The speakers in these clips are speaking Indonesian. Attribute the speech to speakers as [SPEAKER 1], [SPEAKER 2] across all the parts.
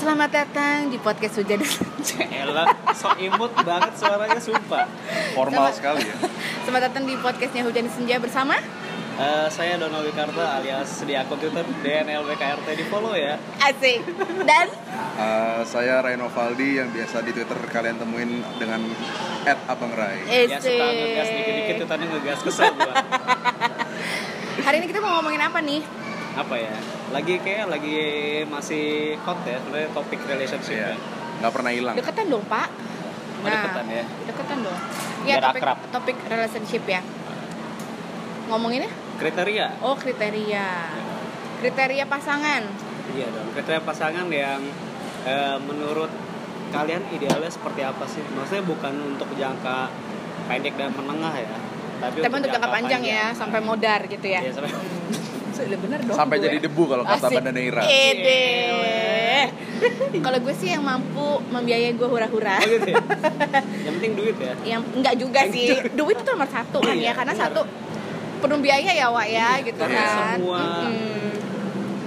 [SPEAKER 1] Selamat datang di podcast Hujan dan Senja.
[SPEAKER 2] Elah, so imut banget suaranya sumpah.
[SPEAKER 1] Sama-
[SPEAKER 3] Formal sekali ya.
[SPEAKER 1] Selamat datang di podcastnya Hujan dan Senja bersama
[SPEAKER 2] Eh, saya Donald Wikarta alias di akun Twitter DNLWKRT di follow ya.
[SPEAKER 1] Asik dan
[SPEAKER 3] Eh, saya Reno Valdi yang biasa di Twitter kalian temuin dengan @abangrai.
[SPEAKER 1] Eh. Iya
[SPEAKER 2] Ya suka ngegas dikit-dikit tuh
[SPEAKER 1] Esik.
[SPEAKER 2] tadi ngegas kesel gua.
[SPEAKER 1] Hari ini kita mau ngomongin apa nih?
[SPEAKER 2] Apa ya? Lagi kayak lagi masih hot ya sebenarnya topik relationship
[SPEAKER 3] Iya.
[SPEAKER 2] ya.
[SPEAKER 3] Nggak pernah hilang.
[SPEAKER 1] Deketan dong Pak. Nah,
[SPEAKER 2] Oh, deketan ya.
[SPEAKER 1] Deketan dong. Ya,
[SPEAKER 2] Biar
[SPEAKER 1] topik,
[SPEAKER 2] akrab.
[SPEAKER 1] topik relationship ya. Ngomonginnya?
[SPEAKER 2] Kriteria.
[SPEAKER 1] Oh
[SPEAKER 2] Ya.
[SPEAKER 1] kriteria. Kriteria pasangan.
[SPEAKER 2] Iya dong. Kriteria pasangan yang eh, menurut kalian idealnya seperti apa sih? Maksudnya bukan untuk jangka pendek dan menengah ya. Tapi,
[SPEAKER 1] Tapi untuk jangka panjang, ya, sampai modar gitu ya.
[SPEAKER 2] Iya, sampai-
[SPEAKER 1] Sudah bener dong.
[SPEAKER 3] Sampai
[SPEAKER 1] gue.
[SPEAKER 3] jadi debu kalau kata
[SPEAKER 1] Asik. Iya.
[SPEAKER 3] Banda Neira.
[SPEAKER 1] Ede.
[SPEAKER 2] Iya,
[SPEAKER 1] Kalau gue sih yang mampu membiayai gue hura-hura.
[SPEAKER 2] Oh gitu ya? Yang penting duit ya.
[SPEAKER 1] Yang enggak juga sih. Duit itu nomor satu kan ya,
[SPEAKER 2] Iya,
[SPEAKER 1] karena
[SPEAKER 2] benar.
[SPEAKER 1] satu penuh biaya ya Wak ya gitu
[SPEAKER 3] Iya, karena
[SPEAKER 1] kan.
[SPEAKER 2] semua
[SPEAKER 1] Mm-mm.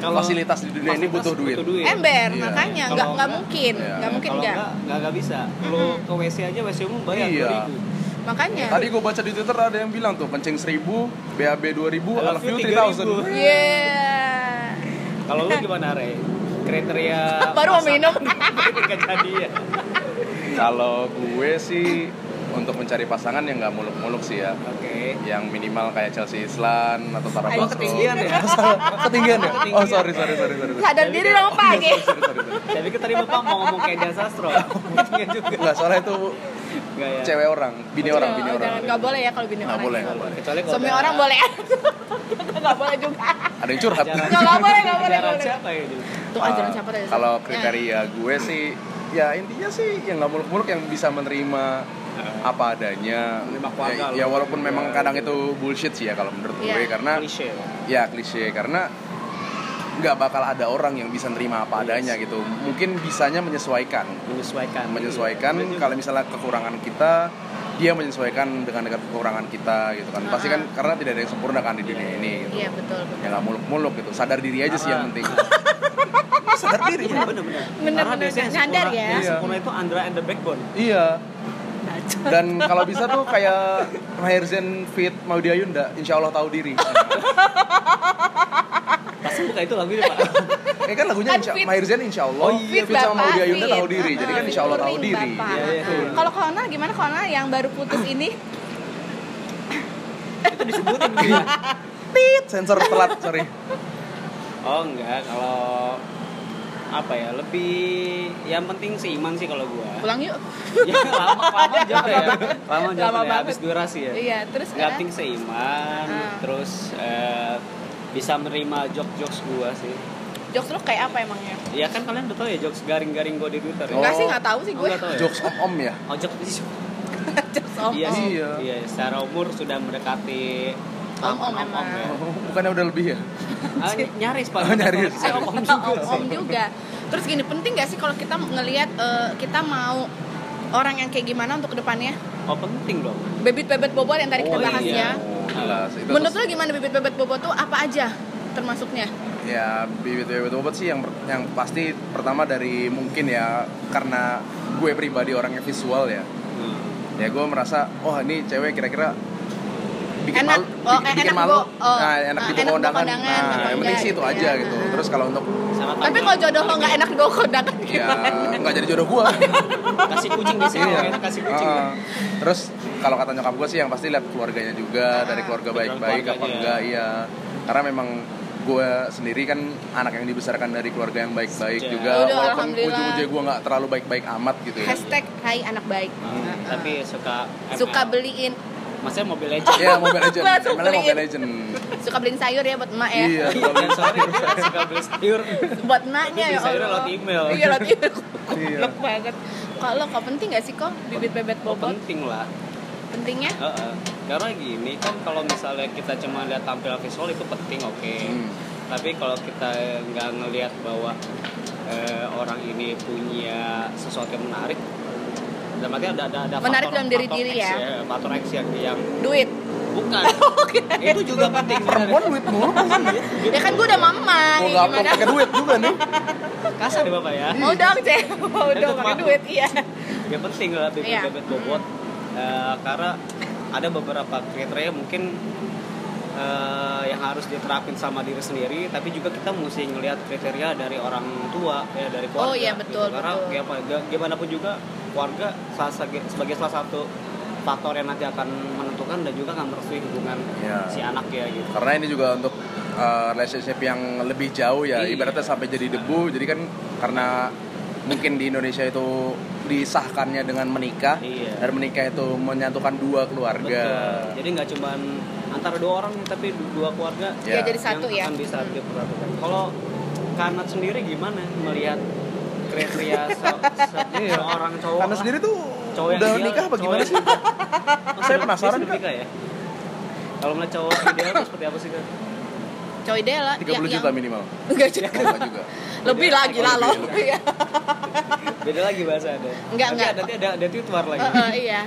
[SPEAKER 2] Kalau
[SPEAKER 3] Fasilitas di dunia ini
[SPEAKER 2] fasilitas
[SPEAKER 3] butuh duit.
[SPEAKER 1] Ember
[SPEAKER 3] Iya.
[SPEAKER 1] makanya
[SPEAKER 2] Kalau
[SPEAKER 1] nggak nggak
[SPEAKER 2] enggak,
[SPEAKER 1] mungkin,
[SPEAKER 3] iya.
[SPEAKER 1] nggak mungkin
[SPEAKER 2] Kalau
[SPEAKER 1] nggak.
[SPEAKER 2] enggak, enggak, enggak bisa. Lo ke WC aja, WC umum bayar
[SPEAKER 3] Iya.
[SPEAKER 2] 2000.
[SPEAKER 1] Makanya.
[SPEAKER 3] Tadi gue baca di Twitter ada yang bilang tuh pencing 1000, BAB 2000, I love you
[SPEAKER 2] 3000.
[SPEAKER 3] 3000.
[SPEAKER 1] Iya. Yeah.
[SPEAKER 2] Kalau lu gimana, Re? Kriteria
[SPEAKER 1] Baru mau
[SPEAKER 2] pasangan
[SPEAKER 1] minum.
[SPEAKER 2] nggak jadi ya.
[SPEAKER 3] Kalau gue sih untuk mencari pasangan yang nggak muluk-muluk sih ya.
[SPEAKER 2] Oke. gitu.
[SPEAKER 3] Yang minimal kayak Chelsea Islan atau Tara
[SPEAKER 1] Ayo,
[SPEAKER 2] Gua
[SPEAKER 3] Basro.
[SPEAKER 2] ketinggian ya.
[SPEAKER 3] Ketinggian ya? Oh
[SPEAKER 2] Ketinggian.
[SPEAKER 3] sorry sorry sorry sorry. sorry.
[SPEAKER 1] Sadar diri dong gitu. pagi.
[SPEAKER 3] Sorry, sorry, sorry.
[SPEAKER 2] Saya pikir kan tadi Bapak mau ngomong kayak Dian Sastro. Ketinggian juga.
[SPEAKER 3] Enggak, soalnya itu
[SPEAKER 2] Enggak ya.
[SPEAKER 3] cewek orang, bini orang, bini orang.
[SPEAKER 1] Jangan- Nggak boleh ya kalau bini
[SPEAKER 3] Nggak
[SPEAKER 1] orang.
[SPEAKER 3] boleh, nggak boleh.
[SPEAKER 2] Kecuali kalau
[SPEAKER 1] Suami
[SPEAKER 2] ada
[SPEAKER 1] orang boleh. Nggak boleh juga.
[SPEAKER 3] Ada yang curhat.
[SPEAKER 2] ajaran-
[SPEAKER 1] Nggak, nggak boleh, nggak boleh,
[SPEAKER 2] ajaran
[SPEAKER 1] nggak boleh.
[SPEAKER 2] siapa ya dulu?
[SPEAKER 1] Tuh ajaran siapa tadi?
[SPEAKER 3] Ah,
[SPEAKER 1] Ah,
[SPEAKER 3] Kalau kriteria gue sih ya intinya sih yang nggak muluk-muluk yang bisa menerima apa adanya.
[SPEAKER 2] Menerima keluarga
[SPEAKER 3] ya, ya
[SPEAKER 2] loh.
[SPEAKER 3] walaupun memang kadang itu bullshit sih ya kalau menurut
[SPEAKER 1] Iya.
[SPEAKER 3] gue karena
[SPEAKER 2] Klise.
[SPEAKER 3] ya klise karena nggak bakal ada orang yang bisa nerima apa
[SPEAKER 2] Iya
[SPEAKER 3] adanya gitu. Mungkin bisanya menyesuaikan.
[SPEAKER 2] Menyesuaikan.
[SPEAKER 3] Menyesuaikan
[SPEAKER 2] Iya,
[SPEAKER 3] kalau misalnya kekurangan kita dia menyesuaikan dengan dengan kekurangan kita gitu kan. Pasti kan karena tidak ada yang sempurna kan di dunia ini gitu.
[SPEAKER 1] Ah, Iya betul. betul.
[SPEAKER 3] Ya nggak muluk-muluk gitu. Sadar diri aja
[SPEAKER 2] Ah,
[SPEAKER 3] sih yang penting.
[SPEAKER 2] sadar diri bener bener
[SPEAKER 1] Bener,
[SPEAKER 2] Iya, Karena
[SPEAKER 1] bener,
[SPEAKER 2] biasanya yang
[SPEAKER 1] nyadar
[SPEAKER 2] sempurna-
[SPEAKER 1] ya.
[SPEAKER 2] yang sempurna itu Andra and the Backbone
[SPEAKER 3] Iya.
[SPEAKER 1] Baca.
[SPEAKER 3] Dan kalau bisa tuh kayak Maher Zain fit Maudy Ayunda, insya Allah tahu diri.
[SPEAKER 2] pasti bukan itu lagunya pak
[SPEAKER 3] Eh kan lagunya insya,
[SPEAKER 1] Kan fit.
[SPEAKER 3] Maher Zain insya Allah,
[SPEAKER 2] Oh iya,
[SPEAKER 3] fit sama Maudy Ayunda
[SPEAKER 1] fit.
[SPEAKER 3] tahu diri. Jadi kan insya Allah tahu
[SPEAKER 1] Touring,
[SPEAKER 3] diri.
[SPEAKER 1] Bapak.
[SPEAKER 2] Iya, iya.
[SPEAKER 1] Heeh. Kalau Kona gimana Kona yang baru putus ini?
[SPEAKER 2] itu disebutin gitu
[SPEAKER 1] Iya.
[SPEAKER 2] ya
[SPEAKER 3] Tit, sensor telat, sorry.
[SPEAKER 2] oh enggak kalau apa ya lebih yang penting seiman sih kalau gua
[SPEAKER 1] Pulang yuk.
[SPEAKER 2] ya lama lama jauh ya lama jauh
[SPEAKER 1] Lama
[SPEAKER 2] ya
[SPEAKER 1] banget.
[SPEAKER 2] habis durasi ya
[SPEAKER 1] Iya, terus
[SPEAKER 2] Yang
[SPEAKER 1] eh,
[SPEAKER 2] penting seiman
[SPEAKER 1] Ah.
[SPEAKER 2] terus eh, bisa menerima jokes jokes gua sih
[SPEAKER 1] jokes lu kayak apa emangnya?
[SPEAKER 2] ya kan kalian udah tau ya jokes garing-garing gua di twitter ya
[SPEAKER 1] Enggak
[SPEAKER 3] Oh.
[SPEAKER 1] sih, enggak tahu sih gue.
[SPEAKER 2] Enggak tahu ya?
[SPEAKER 3] Jokes om-om ya.
[SPEAKER 2] oh jokes
[SPEAKER 1] Jokes om.
[SPEAKER 2] Iya,
[SPEAKER 1] om.
[SPEAKER 2] sih.
[SPEAKER 3] Iya.
[SPEAKER 2] iya. Secara umur sudah mendekati
[SPEAKER 1] Om-om
[SPEAKER 2] aman,
[SPEAKER 1] emang.
[SPEAKER 2] ya.
[SPEAKER 3] Oh, Bukannya udah lebih ya?
[SPEAKER 2] Ah, ny- nyaris pak.
[SPEAKER 3] Oh, nyaris.
[SPEAKER 2] Saya om om
[SPEAKER 1] Om,
[SPEAKER 2] juga.
[SPEAKER 1] om juga. Terus gini, penting gak sih kalau kita ngelihat eh, kita mau orang yang kayak gimana untuk kedepannya?
[SPEAKER 2] Oh penting dong.
[SPEAKER 1] Bebit-bebet bobot yang tadi kita
[SPEAKER 2] Oh,
[SPEAKER 1] bahas
[SPEAKER 2] iya.
[SPEAKER 1] ya.
[SPEAKER 3] Oh, jelas. Itu
[SPEAKER 1] Menurut lu gimana bebit-bebet bobot tuh apa aja termasuknya?
[SPEAKER 3] ya bibit-bibit obat sih yang per- yang pasti pertama dari mungkin ya karena gue pribadi orangnya visual ya.
[SPEAKER 2] Hmm.
[SPEAKER 3] ya gue merasa oh ini cewek kira-kira bikin
[SPEAKER 1] Enak.
[SPEAKER 3] malu
[SPEAKER 1] Oh,
[SPEAKER 3] bikin,
[SPEAKER 1] eh,
[SPEAKER 3] bikin
[SPEAKER 1] enak
[SPEAKER 3] malu
[SPEAKER 1] dibawa- oh,
[SPEAKER 3] nah, enak
[SPEAKER 1] ah,
[SPEAKER 3] di
[SPEAKER 1] enak
[SPEAKER 3] bawah undangan
[SPEAKER 1] dibawa kondangan, apa
[SPEAKER 3] nah yang penting
[SPEAKER 1] enggak
[SPEAKER 3] sih itu
[SPEAKER 1] gitu
[SPEAKER 3] aja
[SPEAKER 1] ya.
[SPEAKER 3] gitu
[SPEAKER 1] Ah.
[SPEAKER 3] terus kalau untuk
[SPEAKER 2] Sama
[SPEAKER 1] Tapi kalau jodoh lo nggak enak dibawa kondangan
[SPEAKER 3] ya
[SPEAKER 1] gimana?
[SPEAKER 3] nggak jadi jodoh gue
[SPEAKER 2] kasih kucing di sini,
[SPEAKER 3] Iya.
[SPEAKER 2] orang kasih kucing.
[SPEAKER 3] Heeh. terus kalau kata nyokap gue sih yang pasti lihat keluarganya
[SPEAKER 1] Ah,
[SPEAKER 3] juga dari keluarga
[SPEAKER 2] Background
[SPEAKER 3] baik-baik apa
[SPEAKER 2] keluarganya.
[SPEAKER 3] enggak iya karena memang gue sendiri kan anak yang dibesarkan dari keluarga yang baik-baik
[SPEAKER 2] Sejak.
[SPEAKER 3] juga
[SPEAKER 1] Udah,
[SPEAKER 3] walaupun
[SPEAKER 1] alhamdulillah.
[SPEAKER 3] ujung-ujungnya gue nggak terlalu baik-baik amat gitu ya
[SPEAKER 1] Hashtag Hai anak baik.
[SPEAKER 2] Hmm,
[SPEAKER 1] Heeh.
[SPEAKER 2] Tapi suka. ML.
[SPEAKER 1] suka beliin
[SPEAKER 2] Maksudnya Mobile Legends.
[SPEAKER 3] ya Mobile Legend,
[SPEAKER 1] Langsung
[SPEAKER 3] Emangnya
[SPEAKER 1] beliin.
[SPEAKER 3] Mobile Legend.
[SPEAKER 1] suka beliin sayur ya buat emak ya.
[SPEAKER 3] Iya,
[SPEAKER 2] Dan soalnya dia suka beli sayur.
[SPEAKER 1] Buat emaknya ya.
[SPEAKER 2] Beli sayurnya
[SPEAKER 1] Allah.
[SPEAKER 2] lewat email.
[SPEAKER 1] Iya lot email.
[SPEAKER 3] Iya.
[SPEAKER 1] Goblok banget. Kalau kok penting gak sih kok bibit bebet
[SPEAKER 2] Oh,
[SPEAKER 1] bobot?
[SPEAKER 2] penting lah.
[SPEAKER 1] Pentingnya?
[SPEAKER 2] Heeh. Karena gini kan kalau misalnya kita cuma lihat tampilan visual itu penting oke.
[SPEAKER 3] Hmm.
[SPEAKER 2] Tapi kalau kita nggak ngelihat bahwa eh, orang ini punya sesuatu yang menarik, dan artinya ada ada, ada
[SPEAKER 1] Menarik dalam diri
[SPEAKER 2] faktor
[SPEAKER 1] diri
[SPEAKER 2] X
[SPEAKER 1] ya.
[SPEAKER 2] Faktor X yang, yang
[SPEAKER 1] duit
[SPEAKER 2] bukan. Itu juga penting.
[SPEAKER 3] Perempuan duit mulu pasti.
[SPEAKER 1] ya kan gue udah mama
[SPEAKER 3] Mau
[SPEAKER 1] ya
[SPEAKER 2] Iya,
[SPEAKER 3] gampang
[SPEAKER 1] gimana
[SPEAKER 3] pakai duit juga nih.
[SPEAKER 2] kasar ya Bapak ya.
[SPEAKER 1] mau dong cewek mau
[SPEAKER 2] Itu
[SPEAKER 1] dong pakai
[SPEAKER 2] mah.
[SPEAKER 1] duit iya
[SPEAKER 2] ya penting lah bibit
[SPEAKER 1] Iya.
[SPEAKER 2] bibit bobot Eh, karena ada beberapa kriteria mungkin eh, yang harus diterapin sama diri sendiri tapi juga kita mesti ngelihat kriteria dari orang tua ya dari keluarga
[SPEAKER 1] Oh, iya,
[SPEAKER 2] gitu.
[SPEAKER 1] betul,
[SPEAKER 2] karena
[SPEAKER 1] betul.
[SPEAKER 2] gimana, ga- gimana pun juga keluarga salah sage- sebagai salah satu faktor yang nanti akan menentukan dan juga akan merestui hubungan
[SPEAKER 3] Iya.
[SPEAKER 2] si anak ya gitu
[SPEAKER 3] Karena ini juga untuk uh, relationship yang lebih jauh ya,
[SPEAKER 2] Iya.
[SPEAKER 3] ibaratnya sampai jadi debu. Jadi kan karena mungkin di Indonesia itu disahkannya dengan menikah
[SPEAKER 2] Iya.
[SPEAKER 3] dan menikah itu menyatukan dua keluarga.
[SPEAKER 2] Betul. jadi nggak cuman antara dua orang tapi dua keluarga
[SPEAKER 1] ya
[SPEAKER 3] Ya.
[SPEAKER 1] jadi satu ya
[SPEAKER 2] Iya, yang akan bisa gitu. diperhatikan. Kalau kanat sendiri gimana melihat kriteria se- se- seorang cowok?
[SPEAKER 3] Karena
[SPEAKER 2] lah?
[SPEAKER 3] Iya. sendiri tuh
[SPEAKER 2] Cowok yang
[SPEAKER 3] udah
[SPEAKER 2] ideal,
[SPEAKER 3] nikah apa
[SPEAKER 2] cowok
[SPEAKER 3] gimana
[SPEAKER 2] yang
[SPEAKER 3] sih?
[SPEAKER 2] ideal. Mas,
[SPEAKER 3] Saya
[SPEAKER 2] udah-
[SPEAKER 3] penasaran,
[SPEAKER 2] dia sudah
[SPEAKER 3] Kak.
[SPEAKER 2] nikah ya? Kalau ngeliat cowok ideal tuh seperti apa sih kan?
[SPEAKER 1] cowok deh lah
[SPEAKER 3] 30 juta minimal.
[SPEAKER 1] Enggak
[SPEAKER 2] Iya.
[SPEAKER 1] juga.
[SPEAKER 3] Enggak juga.
[SPEAKER 1] lebih lagi lah lo
[SPEAKER 3] Oh, lebih, lebih.
[SPEAKER 1] Iya.
[SPEAKER 2] Beda lagi bahasa ada.
[SPEAKER 1] Enggak,
[SPEAKER 2] nanti,
[SPEAKER 1] enggak.
[SPEAKER 2] Nanti ada ada tweetwar lagi.
[SPEAKER 1] Eh, eh, iya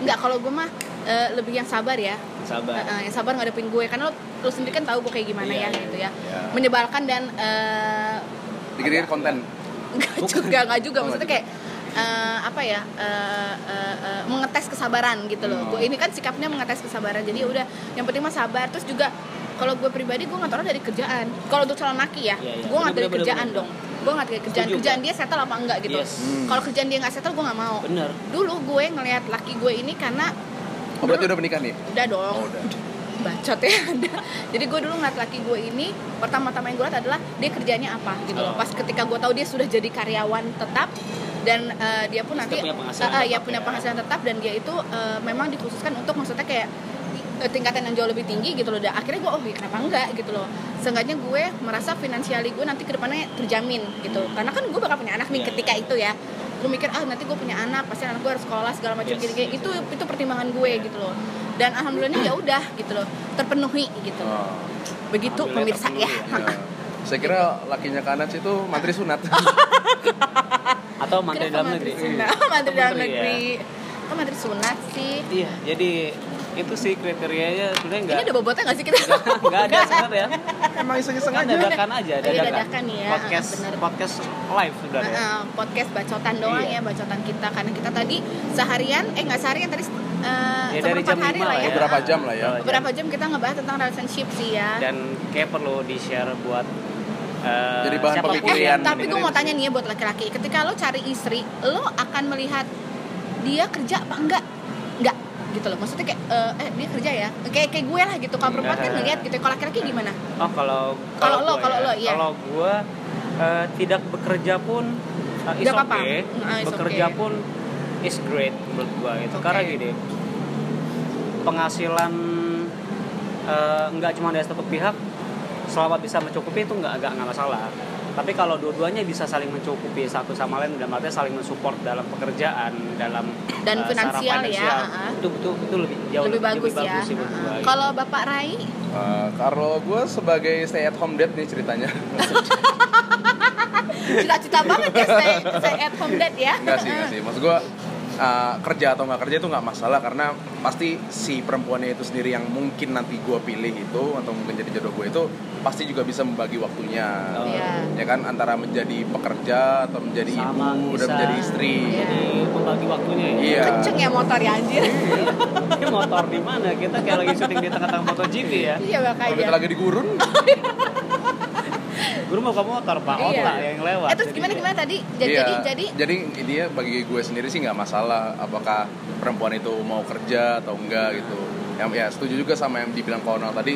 [SPEAKER 1] Enggak, kalau gue mah eh, lebih yang sabar ya
[SPEAKER 2] Sabar.
[SPEAKER 1] Eh, eh, yang sabar ngadepin gue karena lo, lo sendiri kan tahu gue kayak gimana
[SPEAKER 2] Iya,
[SPEAKER 1] ya
[SPEAKER 2] iya.
[SPEAKER 1] gitu ya
[SPEAKER 3] Iya.
[SPEAKER 1] menyebalkan dan eh,
[SPEAKER 3] Dikit-dikit konten.
[SPEAKER 1] enggak juga enggak juga
[SPEAKER 3] Oh,
[SPEAKER 1] maksudnya
[SPEAKER 3] enggak
[SPEAKER 1] kayak eh, apa ya eh, eh, eh, mengetes kesabaran gitu loh
[SPEAKER 2] Oh.
[SPEAKER 3] Hmm.
[SPEAKER 1] gue ini kan sikapnya mengetes kesabaran jadi ya udah yang penting mah sabar terus juga kalau gue pribadi gue nggak tahu dari kerjaan kalau untuk calon laki ya gue
[SPEAKER 2] Iya, iya.
[SPEAKER 1] nggak dari
[SPEAKER 2] Bener, bener,
[SPEAKER 1] kerjaan
[SPEAKER 2] bener.
[SPEAKER 1] dong gue nggak dari kerjaan
[SPEAKER 2] Setuju,
[SPEAKER 1] kerjaan
[SPEAKER 2] Pak.
[SPEAKER 1] dia settle apa enggak gitu
[SPEAKER 2] Yes.
[SPEAKER 3] Hmm.
[SPEAKER 1] kalau kerjaan dia nggak settle gue nggak mau
[SPEAKER 2] Bener.
[SPEAKER 1] dulu gue ngelihat laki gue ini karena
[SPEAKER 3] Oh, berarti udah menikah nih?
[SPEAKER 1] udah dong
[SPEAKER 3] Oh,
[SPEAKER 2] gitu.
[SPEAKER 3] udah.
[SPEAKER 1] bacot ya ada jadi gue dulu ngeliat laki gue ini pertama-tama yang gue liat adalah dia kerjanya apa gitu loh
[SPEAKER 2] Oh.
[SPEAKER 1] pas ketika gue tahu dia sudah jadi karyawan tetap dan eh, dia pun
[SPEAKER 2] Terus
[SPEAKER 1] nanti
[SPEAKER 2] dia punya penghasilan
[SPEAKER 1] eh, eh, ya
[SPEAKER 2] tetap
[SPEAKER 1] punya
[SPEAKER 2] ya.
[SPEAKER 1] penghasilan tetap dan dia itu eh, memang dikhususkan untuk maksudnya kayak eh, tingkatan yang jauh lebih tinggi gitu loh dan akhirnya gue oh ya kenapa enggak gitu loh seenggaknya gue merasa finansiali gue nanti kedepannya terjamin gitu karena kan gue bakal punya anak nih
[SPEAKER 2] Iya,
[SPEAKER 1] ketika
[SPEAKER 2] iya.
[SPEAKER 1] itu ya gue mikir ah nanti gue punya anak pasti anak gue harus sekolah segala macam
[SPEAKER 2] Yes,
[SPEAKER 1] gini-gini
[SPEAKER 2] yes,
[SPEAKER 1] itu itu pertimbangan gue gitu loh dan alhamdulillahnya ya udah gitu loh terpenuhi gitu loh.
[SPEAKER 3] Oh,
[SPEAKER 1] begitu
[SPEAKER 2] Alhamdulillah
[SPEAKER 1] pemirsa ya
[SPEAKER 2] terpenuhi
[SPEAKER 3] iya. Saya kira lakinya kanan itu mantri sunat.
[SPEAKER 2] Atau mantri
[SPEAKER 1] Kenapa
[SPEAKER 2] dalam
[SPEAKER 1] mantri
[SPEAKER 2] negeri.
[SPEAKER 1] sunat
[SPEAKER 2] Atau
[SPEAKER 1] mantri Oh, dalam
[SPEAKER 2] menteri, ya.
[SPEAKER 1] negeri kok mantri sunat sih
[SPEAKER 2] Iya, jadi itu sih kriterianya sebenarnya
[SPEAKER 1] ini
[SPEAKER 2] enggak
[SPEAKER 1] ada bobotnya nggak sih kita
[SPEAKER 2] enggak ada sebenarnya.
[SPEAKER 3] Emang iseng-iseng
[SPEAKER 2] Kan
[SPEAKER 3] aja.
[SPEAKER 2] dadakan aja,
[SPEAKER 1] Iya, dadakan ya,
[SPEAKER 2] Podcast
[SPEAKER 1] bener.
[SPEAKER 2] podcast live sudah ya.
[SPEAKER 1] Heeh, podcast bacotan doang
[SPEAKER 2] Iya.
[SPEAKER 1] ya bacotan kita karena kita tadi seharian eh nggak seharian tadi eh,
[SPEAKER 2] Ya, dari
[SPEAKER 1] seperempat
[SPEAKER 2] jam
[SPEAKER 1] hari
[SPEAKER 2] lima
[SPEAKER 1] lah
[SPEAKER 2] lah
[SPEAKER 1] ya
[SPEAKER 2] ya.
[SPEAKER 3] Beberapa
[SPEAKER 1] Heeh.
[SPEAKER 3] jam lah ya.
[SPEAKER 1] beberapa jam kita ngebahas tentang relationship sih ya
[SPEAKER 2] dan kayak perlu di share buat eh,
[SPEAKER 3] Jadi bahan
[SPEAKER 2] siapapun
[SPEAKER 1] eh,
[SPEAKER 3] pemikiran.
[SPEAKER 2] yang
[SPEAKER 1] tapi gue
[SPEAKER 2] dengerin
[SPEAKER 1] mau
[SPEAKER 2] sih.
[SPEAKER 1] tanya nih ya buat laki-laki ketika lo cari istri lo akan melihat dia kerja apa enggak enggak gitu loh maksudnya kayak eh, eh dia kerja ya kayak kayak gue lah gitu kalau perempuan
[SPEAKER 2] Nah.
[SPEAKER 1] kan ngeliat gitu kalau laki-laki gimana
[SPEAKER 2] oh kalau
[SPEAKER 1] Kalau lo,
[SPEAKER 2] gua
[SPEAKER 1] kalau
[SPEAKER 2] ya,
[SPEAKER 1] lo, iya.
[SPEAKER 2] kalau gue tidak bekerja pun eh, is
[SPEAKER 1] Nggak apa-apa.
[SPEAKER 2] okay.
[SPEAKER 1] Nah, is
[SPEAKER 2] bekerja
[SPEAKER 1] okay.
[SPEAKER 2] pun is great menurut gue itu
[SPEAKER 1] Oke.
[SPEAKER 2] karena gini penghasilan eh, nggak cuma dari satu pihak selama bisa mencukupi itu nggak agak nggak masalah tapi kalau dua-duanya bisa saling mencukupi satu sama lain dalam artinya saling mensupport dalam pekerjaan dalam
[SPEAKER 1] Dan
[SPEAKER 2] eh,
[SPEAKER 1] finansial ya,
[SPEAKER 2] secara finansial,
[SPEAKER 1] uh-uh.
[SPEAKER 2] itu itu itu lebih jauh
[SPEAKER 1] lebih, bagus ya
[SPEAKER 2] sih menurut
[SPEAKER 1] Heeh.
[SPEAKER 2] gua, gitu.
[SPEAKER 1] kalau bapak Rai
[SPEAKER 3] Eh, kalau gue sebagai stay at home dad nih ceritanya
[SPEAKER 1] cita-cita banget ya saya, saya at home dad ya
[SPEAKER 3] Enggak sih, enggak sih Maksud gue kerja atau nggak kerja itu nggak masalah Karena pasti si perempuannya itu sendiri yang mungkin nanti gue pilih itu Atau mungkin jadi jodoh gue itu Pasti juga bisa membagi waktunya
[SPEAKER 2] Oh.
[SPEAKER 1] Iya.
[SPEAKER 3] Ya kan, antara menjadi pekerja atau menjadi
[SPEAKER 2] Sama,
[SPEAKER 3] ibu dan
[SPEAKER 2] bisa.
[SPEAKER 3] menjadi istri
[SPEAKER 1] Iya.
[SPEAKER 2] jadi pembagi waktunya ya.
[SPEAKER 3] Iya
[SPEAKER 1] kenceng ya motor ya anjir
[SPEAKER 2] Ini motor di mana? Kita kayak lagi syuting di tengah-tengah MotoGP ya.
[SPEAKER 1] iya
[SPEAKER 3] Kalau kita
[SPEAKER 1] makanya
[SPEAKER 3] lagi di gurun
[SPEAKER 2] Guru mau ke motor Pak
[SPEAKER 1] Iya.
[SPEAKER 2] Otak yang lewat.
[SPEAKER 1] eh terus
[SPEAKER 2] Jadi
[SPEAKER 1] gimana
[SPEAKER 2] dia-
[SPEAKER 1] gimana tadi jadi
[SPEAKER 3] Iya.
[SPEAKER 1] jadi jadi
[SPEAKER 3] Jadi dia bagi gue sendiri sih nggak masalah Apakah perempuan itu mau kerja atau enggak gitu Yang ya setuju juga sama yang dibilang Konal tadi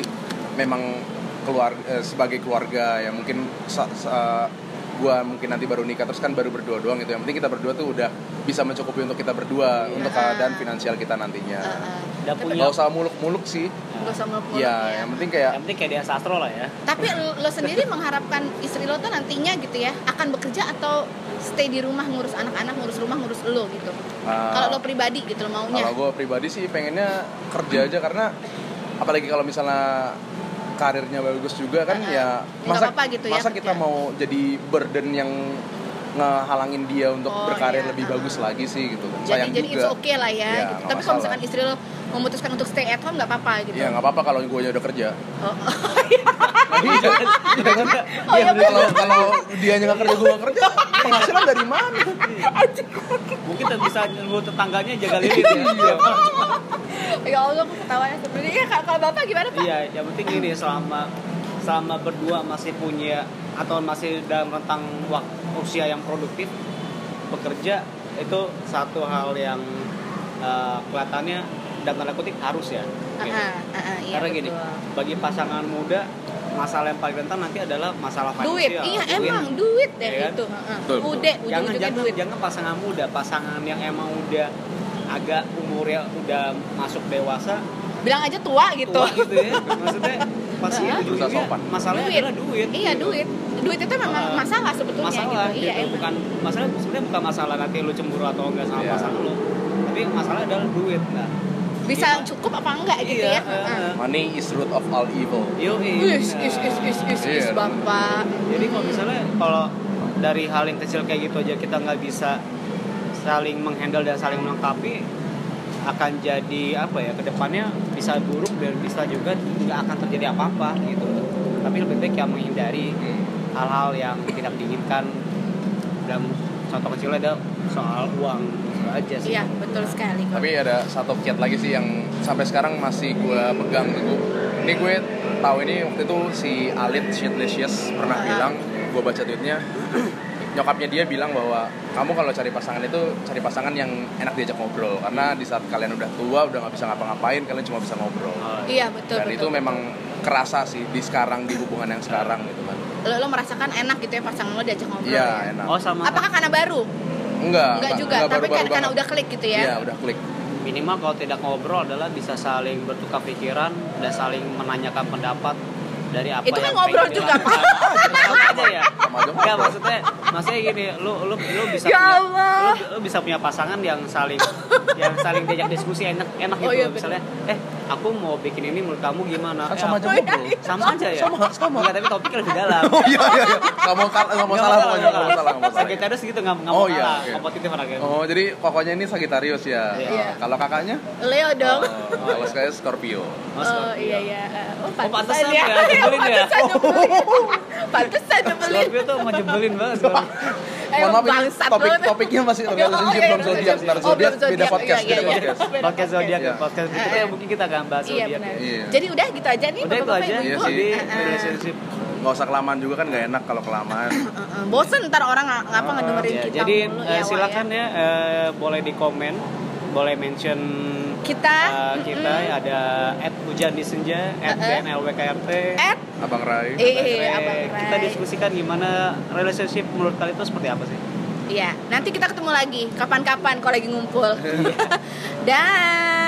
[SPEAKER 3] Memang keluar eh, sebagai keluarga ya mungkin sa- sa- gue mungkin nanti baru nikah terus kan baru berdua doang gitu yang penting kita berdua tuh udah bisa mencukupi untuk kita berdua untuk keadaan finansial kita nantinya
[SPEAKER 1] Iya. Heeh.
[SPEAKER 2] Udah punya.
[SPEAKER 3] nggak usah muluk-muluk sih
[SPEAKER 1] Nggak eh. usah muluk-muluk
[SPEAKER 3] ya yang penting kayak
[SPEAKER 2] Yang penting kayak dia sastro lah ya.
[SPEAKER 1] Tapi lo sendiri mengharapkan istri lo tuh nantinya gitu ya akan bekerja atau stay di rumah ngurus anak-anak, ngurus rumah, ngurus lo gitu.
[SPEAKER 3] Ah.
[SPEAKER 1] Kalau lo pribadi gitu lo maunya.
[SPEAKER 3] Kalau gue pribadi sih pengennya kerja aja karena apalagi kalau misalnya karirnya bagus juga kan
[SPEAKER 1] Heeh.
[SPEAKER 3] ya
[SPEAKER 1] Nggak
[SPEAKER 3] masa
[SPEAKER 1] apa-apa gitu ya,
[SPEAKER 3] masa kita
[SPEAKER 1] kerja.
[SPEAKER 3] mau jadi burden yang ngehalangin dia untuk
[SPEAKER 1] Oh,
[SPEAKER 3] berkarir
[SPEAKER 1] iya.
[SPEAKER 3] lebih bagus lagi sih gitu kan.
[SPEAKER 1] jadi
[SPEAKER 3] Sayang
[SPEAKER 1] jadi
[SPEAKER 3] juga.
[SPEAKER 1] it's okay lah ya, gitu.
[SPEAKER 3] Iya, nggak
[SPEAKER 1] tapi kalau
[SPEAKER 3] masalah.
[SPEAKER 1] misalkan istri lo memutuskan untuk stay at home nggak apa-apa gitu
[SPEAKER 3] Iya nggak apa-apa kalau gue udah kerja.
[SPEAKER 1] Oh, oh.
[SPEAKER 3] Iya jangan- jangan.
[SPEAKER 1] Oh, iya,
[SPEAKER 3] Kalau kalau dia nggak kerja gue kerja, penghasilan dari mana?
[SPEAKER 2] Mungkin tetap bisa nyuruh tetangganya jaga lilin ya.
[SPEAKER 1] Iya. ya allah aku ketawa ya sebenarnya ya kalau kalau bapak gimana pak
[SPEAKER 2] Iya, yang penting ini selama selama berdua masih punya atau masih dalam rentang waktu usia yang produktif bekerja itu satu hal yang eh, kelihatannya dalam tanda kutip harus ya. Gitu.
[SPEAKER 1] Aha, aha, iya,
[SPEAKER 2] Karena gini,
[SPEAKER 1] betul.
[SPEAKER 2] bagi pasangan muda masalah yang paling rentan nanti adalah masalah
[SPEAKER 1] duit
[SPEAKER 2] finansial.
[SPEAKER 1] iya emang duit deh
[SPEAKER 2] Iya kan?
[SPEAKER 1] itu heeh.
[SPEAKER 3] Betul, betul.
[SPEAKER 1] udah
[SPEAKER 2] jangan
[SPEAKER 1] ujung-ujungnya
[SPEAKER 2] jangan
[SPEAKER 1] duit
[SPEAKER 2] jangan pasangan muda, pasangan yang emang udah agak umurnya udah masuk dewasa
[SPEAKER 1] bilang aja tua gitu
[SPEAKER 2] tua gitu ya maksudnya pasti
[SPEAKER 1] Hah?
[SPEAKER 2] ujungnya
[SPEAKER 3] Berusaha sopan.
[SPEAKER 2] masalahnya
[SPEAKER 1] Duit.
[SPEAKER 2] adalah duit
[SPEAKER 1] iya
[SPEAKER 2] gitu.
[SPEAKER 1] duit duit itu memang
[SPEAKER 2] Heeh.
[SPEAKER 1] masalah sebetulnya
[SPEAKER 2] masalah
[SPEAKER 1] gitu iya
[SPEAKER 2] gitu.
[SPEAKER 1] emang
[SPEAKER 2] bukan masalah sebenarnya bukan masalah nanti lu cemburu atau enggak sama
[SPEAKER 3] Iya.
[SPEAKER 2] pasangan lu tapi masalah adalah duit nah
[SPEAKER 1] bisa
[SPEAKER 2] Gimana?
[SPEAKER 1] cukup apa enggak gitu
[SPEAKER 2] iya
[SPEAKER 1] ya heeh.
[SPEAKER 3] Money is root of all evil.
[SPEAKER 2] Yo,
[SPEAKER 1] Is, is, is, is, is, is,
[SPEAKER 3] Iya.
[SPEAKER 1] bapak.
[SPEAKER 2] Jadi kalau misalnya kalau dari hal yang kecil kayak gitu aja kita nggak bisa saling menghandle dan saling melengkapi akan jadi apa ya kedepannya bisa buruk dan bisa juga nggak akan terjadi apa-apa gitu tapi lebih baik yang menghindari hal-hal yang tidak diinginkan dan contoh kecilnya ada soal uang Itu aja sih
[SPEAKER 1] Iya, betul sekali. Kok.
[SPEAKER 3] Tapi ada satu kiat lagi sih yang sampai sekarang masih gue pegang gitu. Ini gue tahu ini waktu itu si Alit Shitlicious
[SPEAKER 1] Ah.
[SPEAKER 3] pernah bilang, gue baca tweetnya, nyokapnya dia bilang bahwa kamu kalau cari pasangan itu cari pasangan yang enak diajak ngobrol karena di saat kalian udah tua udah nggak bisa ngapa-ngapain kalian cuma bisa ngobrol
[SPEAKER 2] Oh,
[SPEAKER 1] iya, betul.
[SPEAKER 3] dan
[SPEAKER 1] betul.
[SPEAKER 3] itu memang kerasa sih di sekarang di hubungan yang sekarang gitu kan
[SPEAKER 1] lo, lo merasakan enak gitu ya pasangan lo diajak ngobrol.
[SPEAKER 3] iya
[SPEAKER 1] ya?
[SPEAKER 3] enak
[SPEAKER 2] oh sama
[SPEAKER 1] Apakah karena baru?
[SPEAKER 3] enggak
[SPEAKER 1] Enggak juga, tapi kan karena udah klik gitu
[SPEAKER 3] iya
[SPEAKER 1] ya.
[SPEAKER 3] udah klik
[SPEAKER 2] minimal kalau tidak ngobrol adalah bisa saling bertukar pikiran dan saling menanyakan pendapat dari apa
[SPEAKER 1] Itu kan
[SPEAKER 2] yang
[SPEAKER 1] ngobrol
[SPEAKER 2] pengen
[SPEAKER 1] juga,
[SPEAKER 2] dilakukan. Sama aja ya
[SPEAKER 3] sama aja
[SPEAKER 2] Enggak maksudnya maksudnya gini lu lu lu bisa
[SPEAKER 1] Ya
[SPEAKER 2] punya-
[SPEAKER 1] Allah.
[SPEAKER 2] lu, lu bisa punya pasangan yang saling yang saling diajak diskusi enak enak
[SPEAKER 1] Oh,
[SPEAKER 2] gitu
[SPEAKER 1] iya,
[SPEAKER 2] loh. misalnya eh aku mau bikin ini menurut kamu gimana
[SPEAKER 3] Kan
[SPEAKER 2] Eh,
[SPEAKER 3] sama aja
[SPEAKER 2] aku-
[SPEAKER 3] ngobrol
[SPEAKER 2] sama aja ya
[SPEAKER 3] Sama, sama.
[SPEAKER 2] Enggak, tapi topiknya lebih dalam
[SPEAKER 3] Oh iya iya iya. Nggak mau kal- nggak mau salah pokoknya nggak mau salah nggak mau salah.
[SPEAKER 2] Sagittarius gitu nggak nggak
[SPEAKER 3] Oh,
[SPEAKER 2] mau
[SPEAKER 3] iya,
[SPEAKER 2] kalah
[SPEAKER 3] iya.
[SPEAKER 2] kompetitif orangnya
[SPEAKER 3] Oh jadi pokoknya ini Sagittarius ya.
[SPEAKER 2] Iya.
[SPEAKER 3] Oh, Kalau kakaknya?
[SPEAKER 1] Leo dong.
[SPEAKER 3] Oh, Kalau saya Scorpio.
[SPEAKER 1] Oh, iya iya. Oh,
[SPEAKER 2] Oh,
[SPEAKER 1] pantesan
[SPEAKER 2] pantesan
[SPEAKER 1] ya.
[SPEAKER 2] ya, nyebelin ya.
[SPEAKER 1] Pantesan nyebelin. Pantesan nyebelin.
[SPEAKER 2] Scorpio tuh mau jebelin banget Scorpio.
[SPEAKER 1] Emang
[SPEAKER 3] Mohon maaf ini
[SPEAKER 1] Eh, bangsat
[SPEAKER 3] topik
[SPEAKER 1] banget.
[SPEAKER 3] topiknya masih
[SPEAKER 1] Oh,
[SPEAKER 3] relationship
[SPEAKER 1] iya,
[SPEAKER 3] belum zodiak,
[SPEAKER 1] relationship.
[SPEAKER 3] benar
[SPEAKER 1] Oh, belum
[SPEAKER 3] zodiak beda
[SPEAKER 1] zodiak.
[SPEAKER 3] podcast,
[SPEAKER 1] Iya,
[SPEAKER 3] beda
[SPEAKER 1] iya,
[SPEAKER 3] podcast.
[SPEAKER 1] iya. Beda
[SPEAKER 2] podcast zodiak
[SPEAKER 3] Iya.
[SPEAKER 2] ya podcast kita
[SPEAKER 1] Eh, eh.
[SPEAKER 2] yang mungkin kita akan bahas
[SPEAKER 1] Iya
[SPEAKER 2] zodiak.
[SPEAKER 1] benar.
[SPEAKER 2] ya.
[SPEAKER 3] Iya.
[SPEAKER 1] Jadi udah gitu aja nih
[SPEAKER 2] Udah itu
[SPEAKER 1] Bapak-bapak,
[SPEAKER 2] aja.
[SPEAKER 1] Ibu-ibu.
[SPEAKER 3] Iya sih.
[SPEAKER 2] Jadi
[SPEAKER 1] Eh, eh.
[SPEAKER 2] relationship.
[SPEAKER 3] Nggak usah kelamaan juga kan nggak enak kalau kelamaan.
[SPEAKER 1] Eh, eh, Bosen ntar orang ng- ngapa ngedengerin
[SPEAKER 2] Ya,
[SPEAKER 1] kita
[SPEAKER 2] jadi
[SPEAKER 1] mulu,
[SPEAKER 2] eh,
[SPEAKER 1] ya, Wak,
[SPEAKER 2] silakan
[SPEAKER 1] ya.
[SPEAKER 2] ya eh, boleh di komen, boleh mention
[SPEAKER 1] Kita,
[SPEAKER 2] eh, kita ada at hujan di senja,
[SPEAKER 1] Eh,
[SPEAKER 2] at
[SPEAKER 1] eh.
[SPEAKER 2] BNLWKRT.
[SPEAKER 1] At
[SPEAKER 3] Abang Rai.
[SPEAKER 1] eh
[SPEAKER 2] Eh,
[SPEAKER 1] abang
[SPEAKER 2] kita
[SPEAKER 1] Rai.
[SPEAKER 2] diskusikan gimana relationship menurut kalian itu seperti apa sih? Iya.
[SPEAKER 1] Iya, nanti kita ketemu lagi kapan-kapan kalau lagi ngumpul. Dan
[SPEAKER 2] Eh,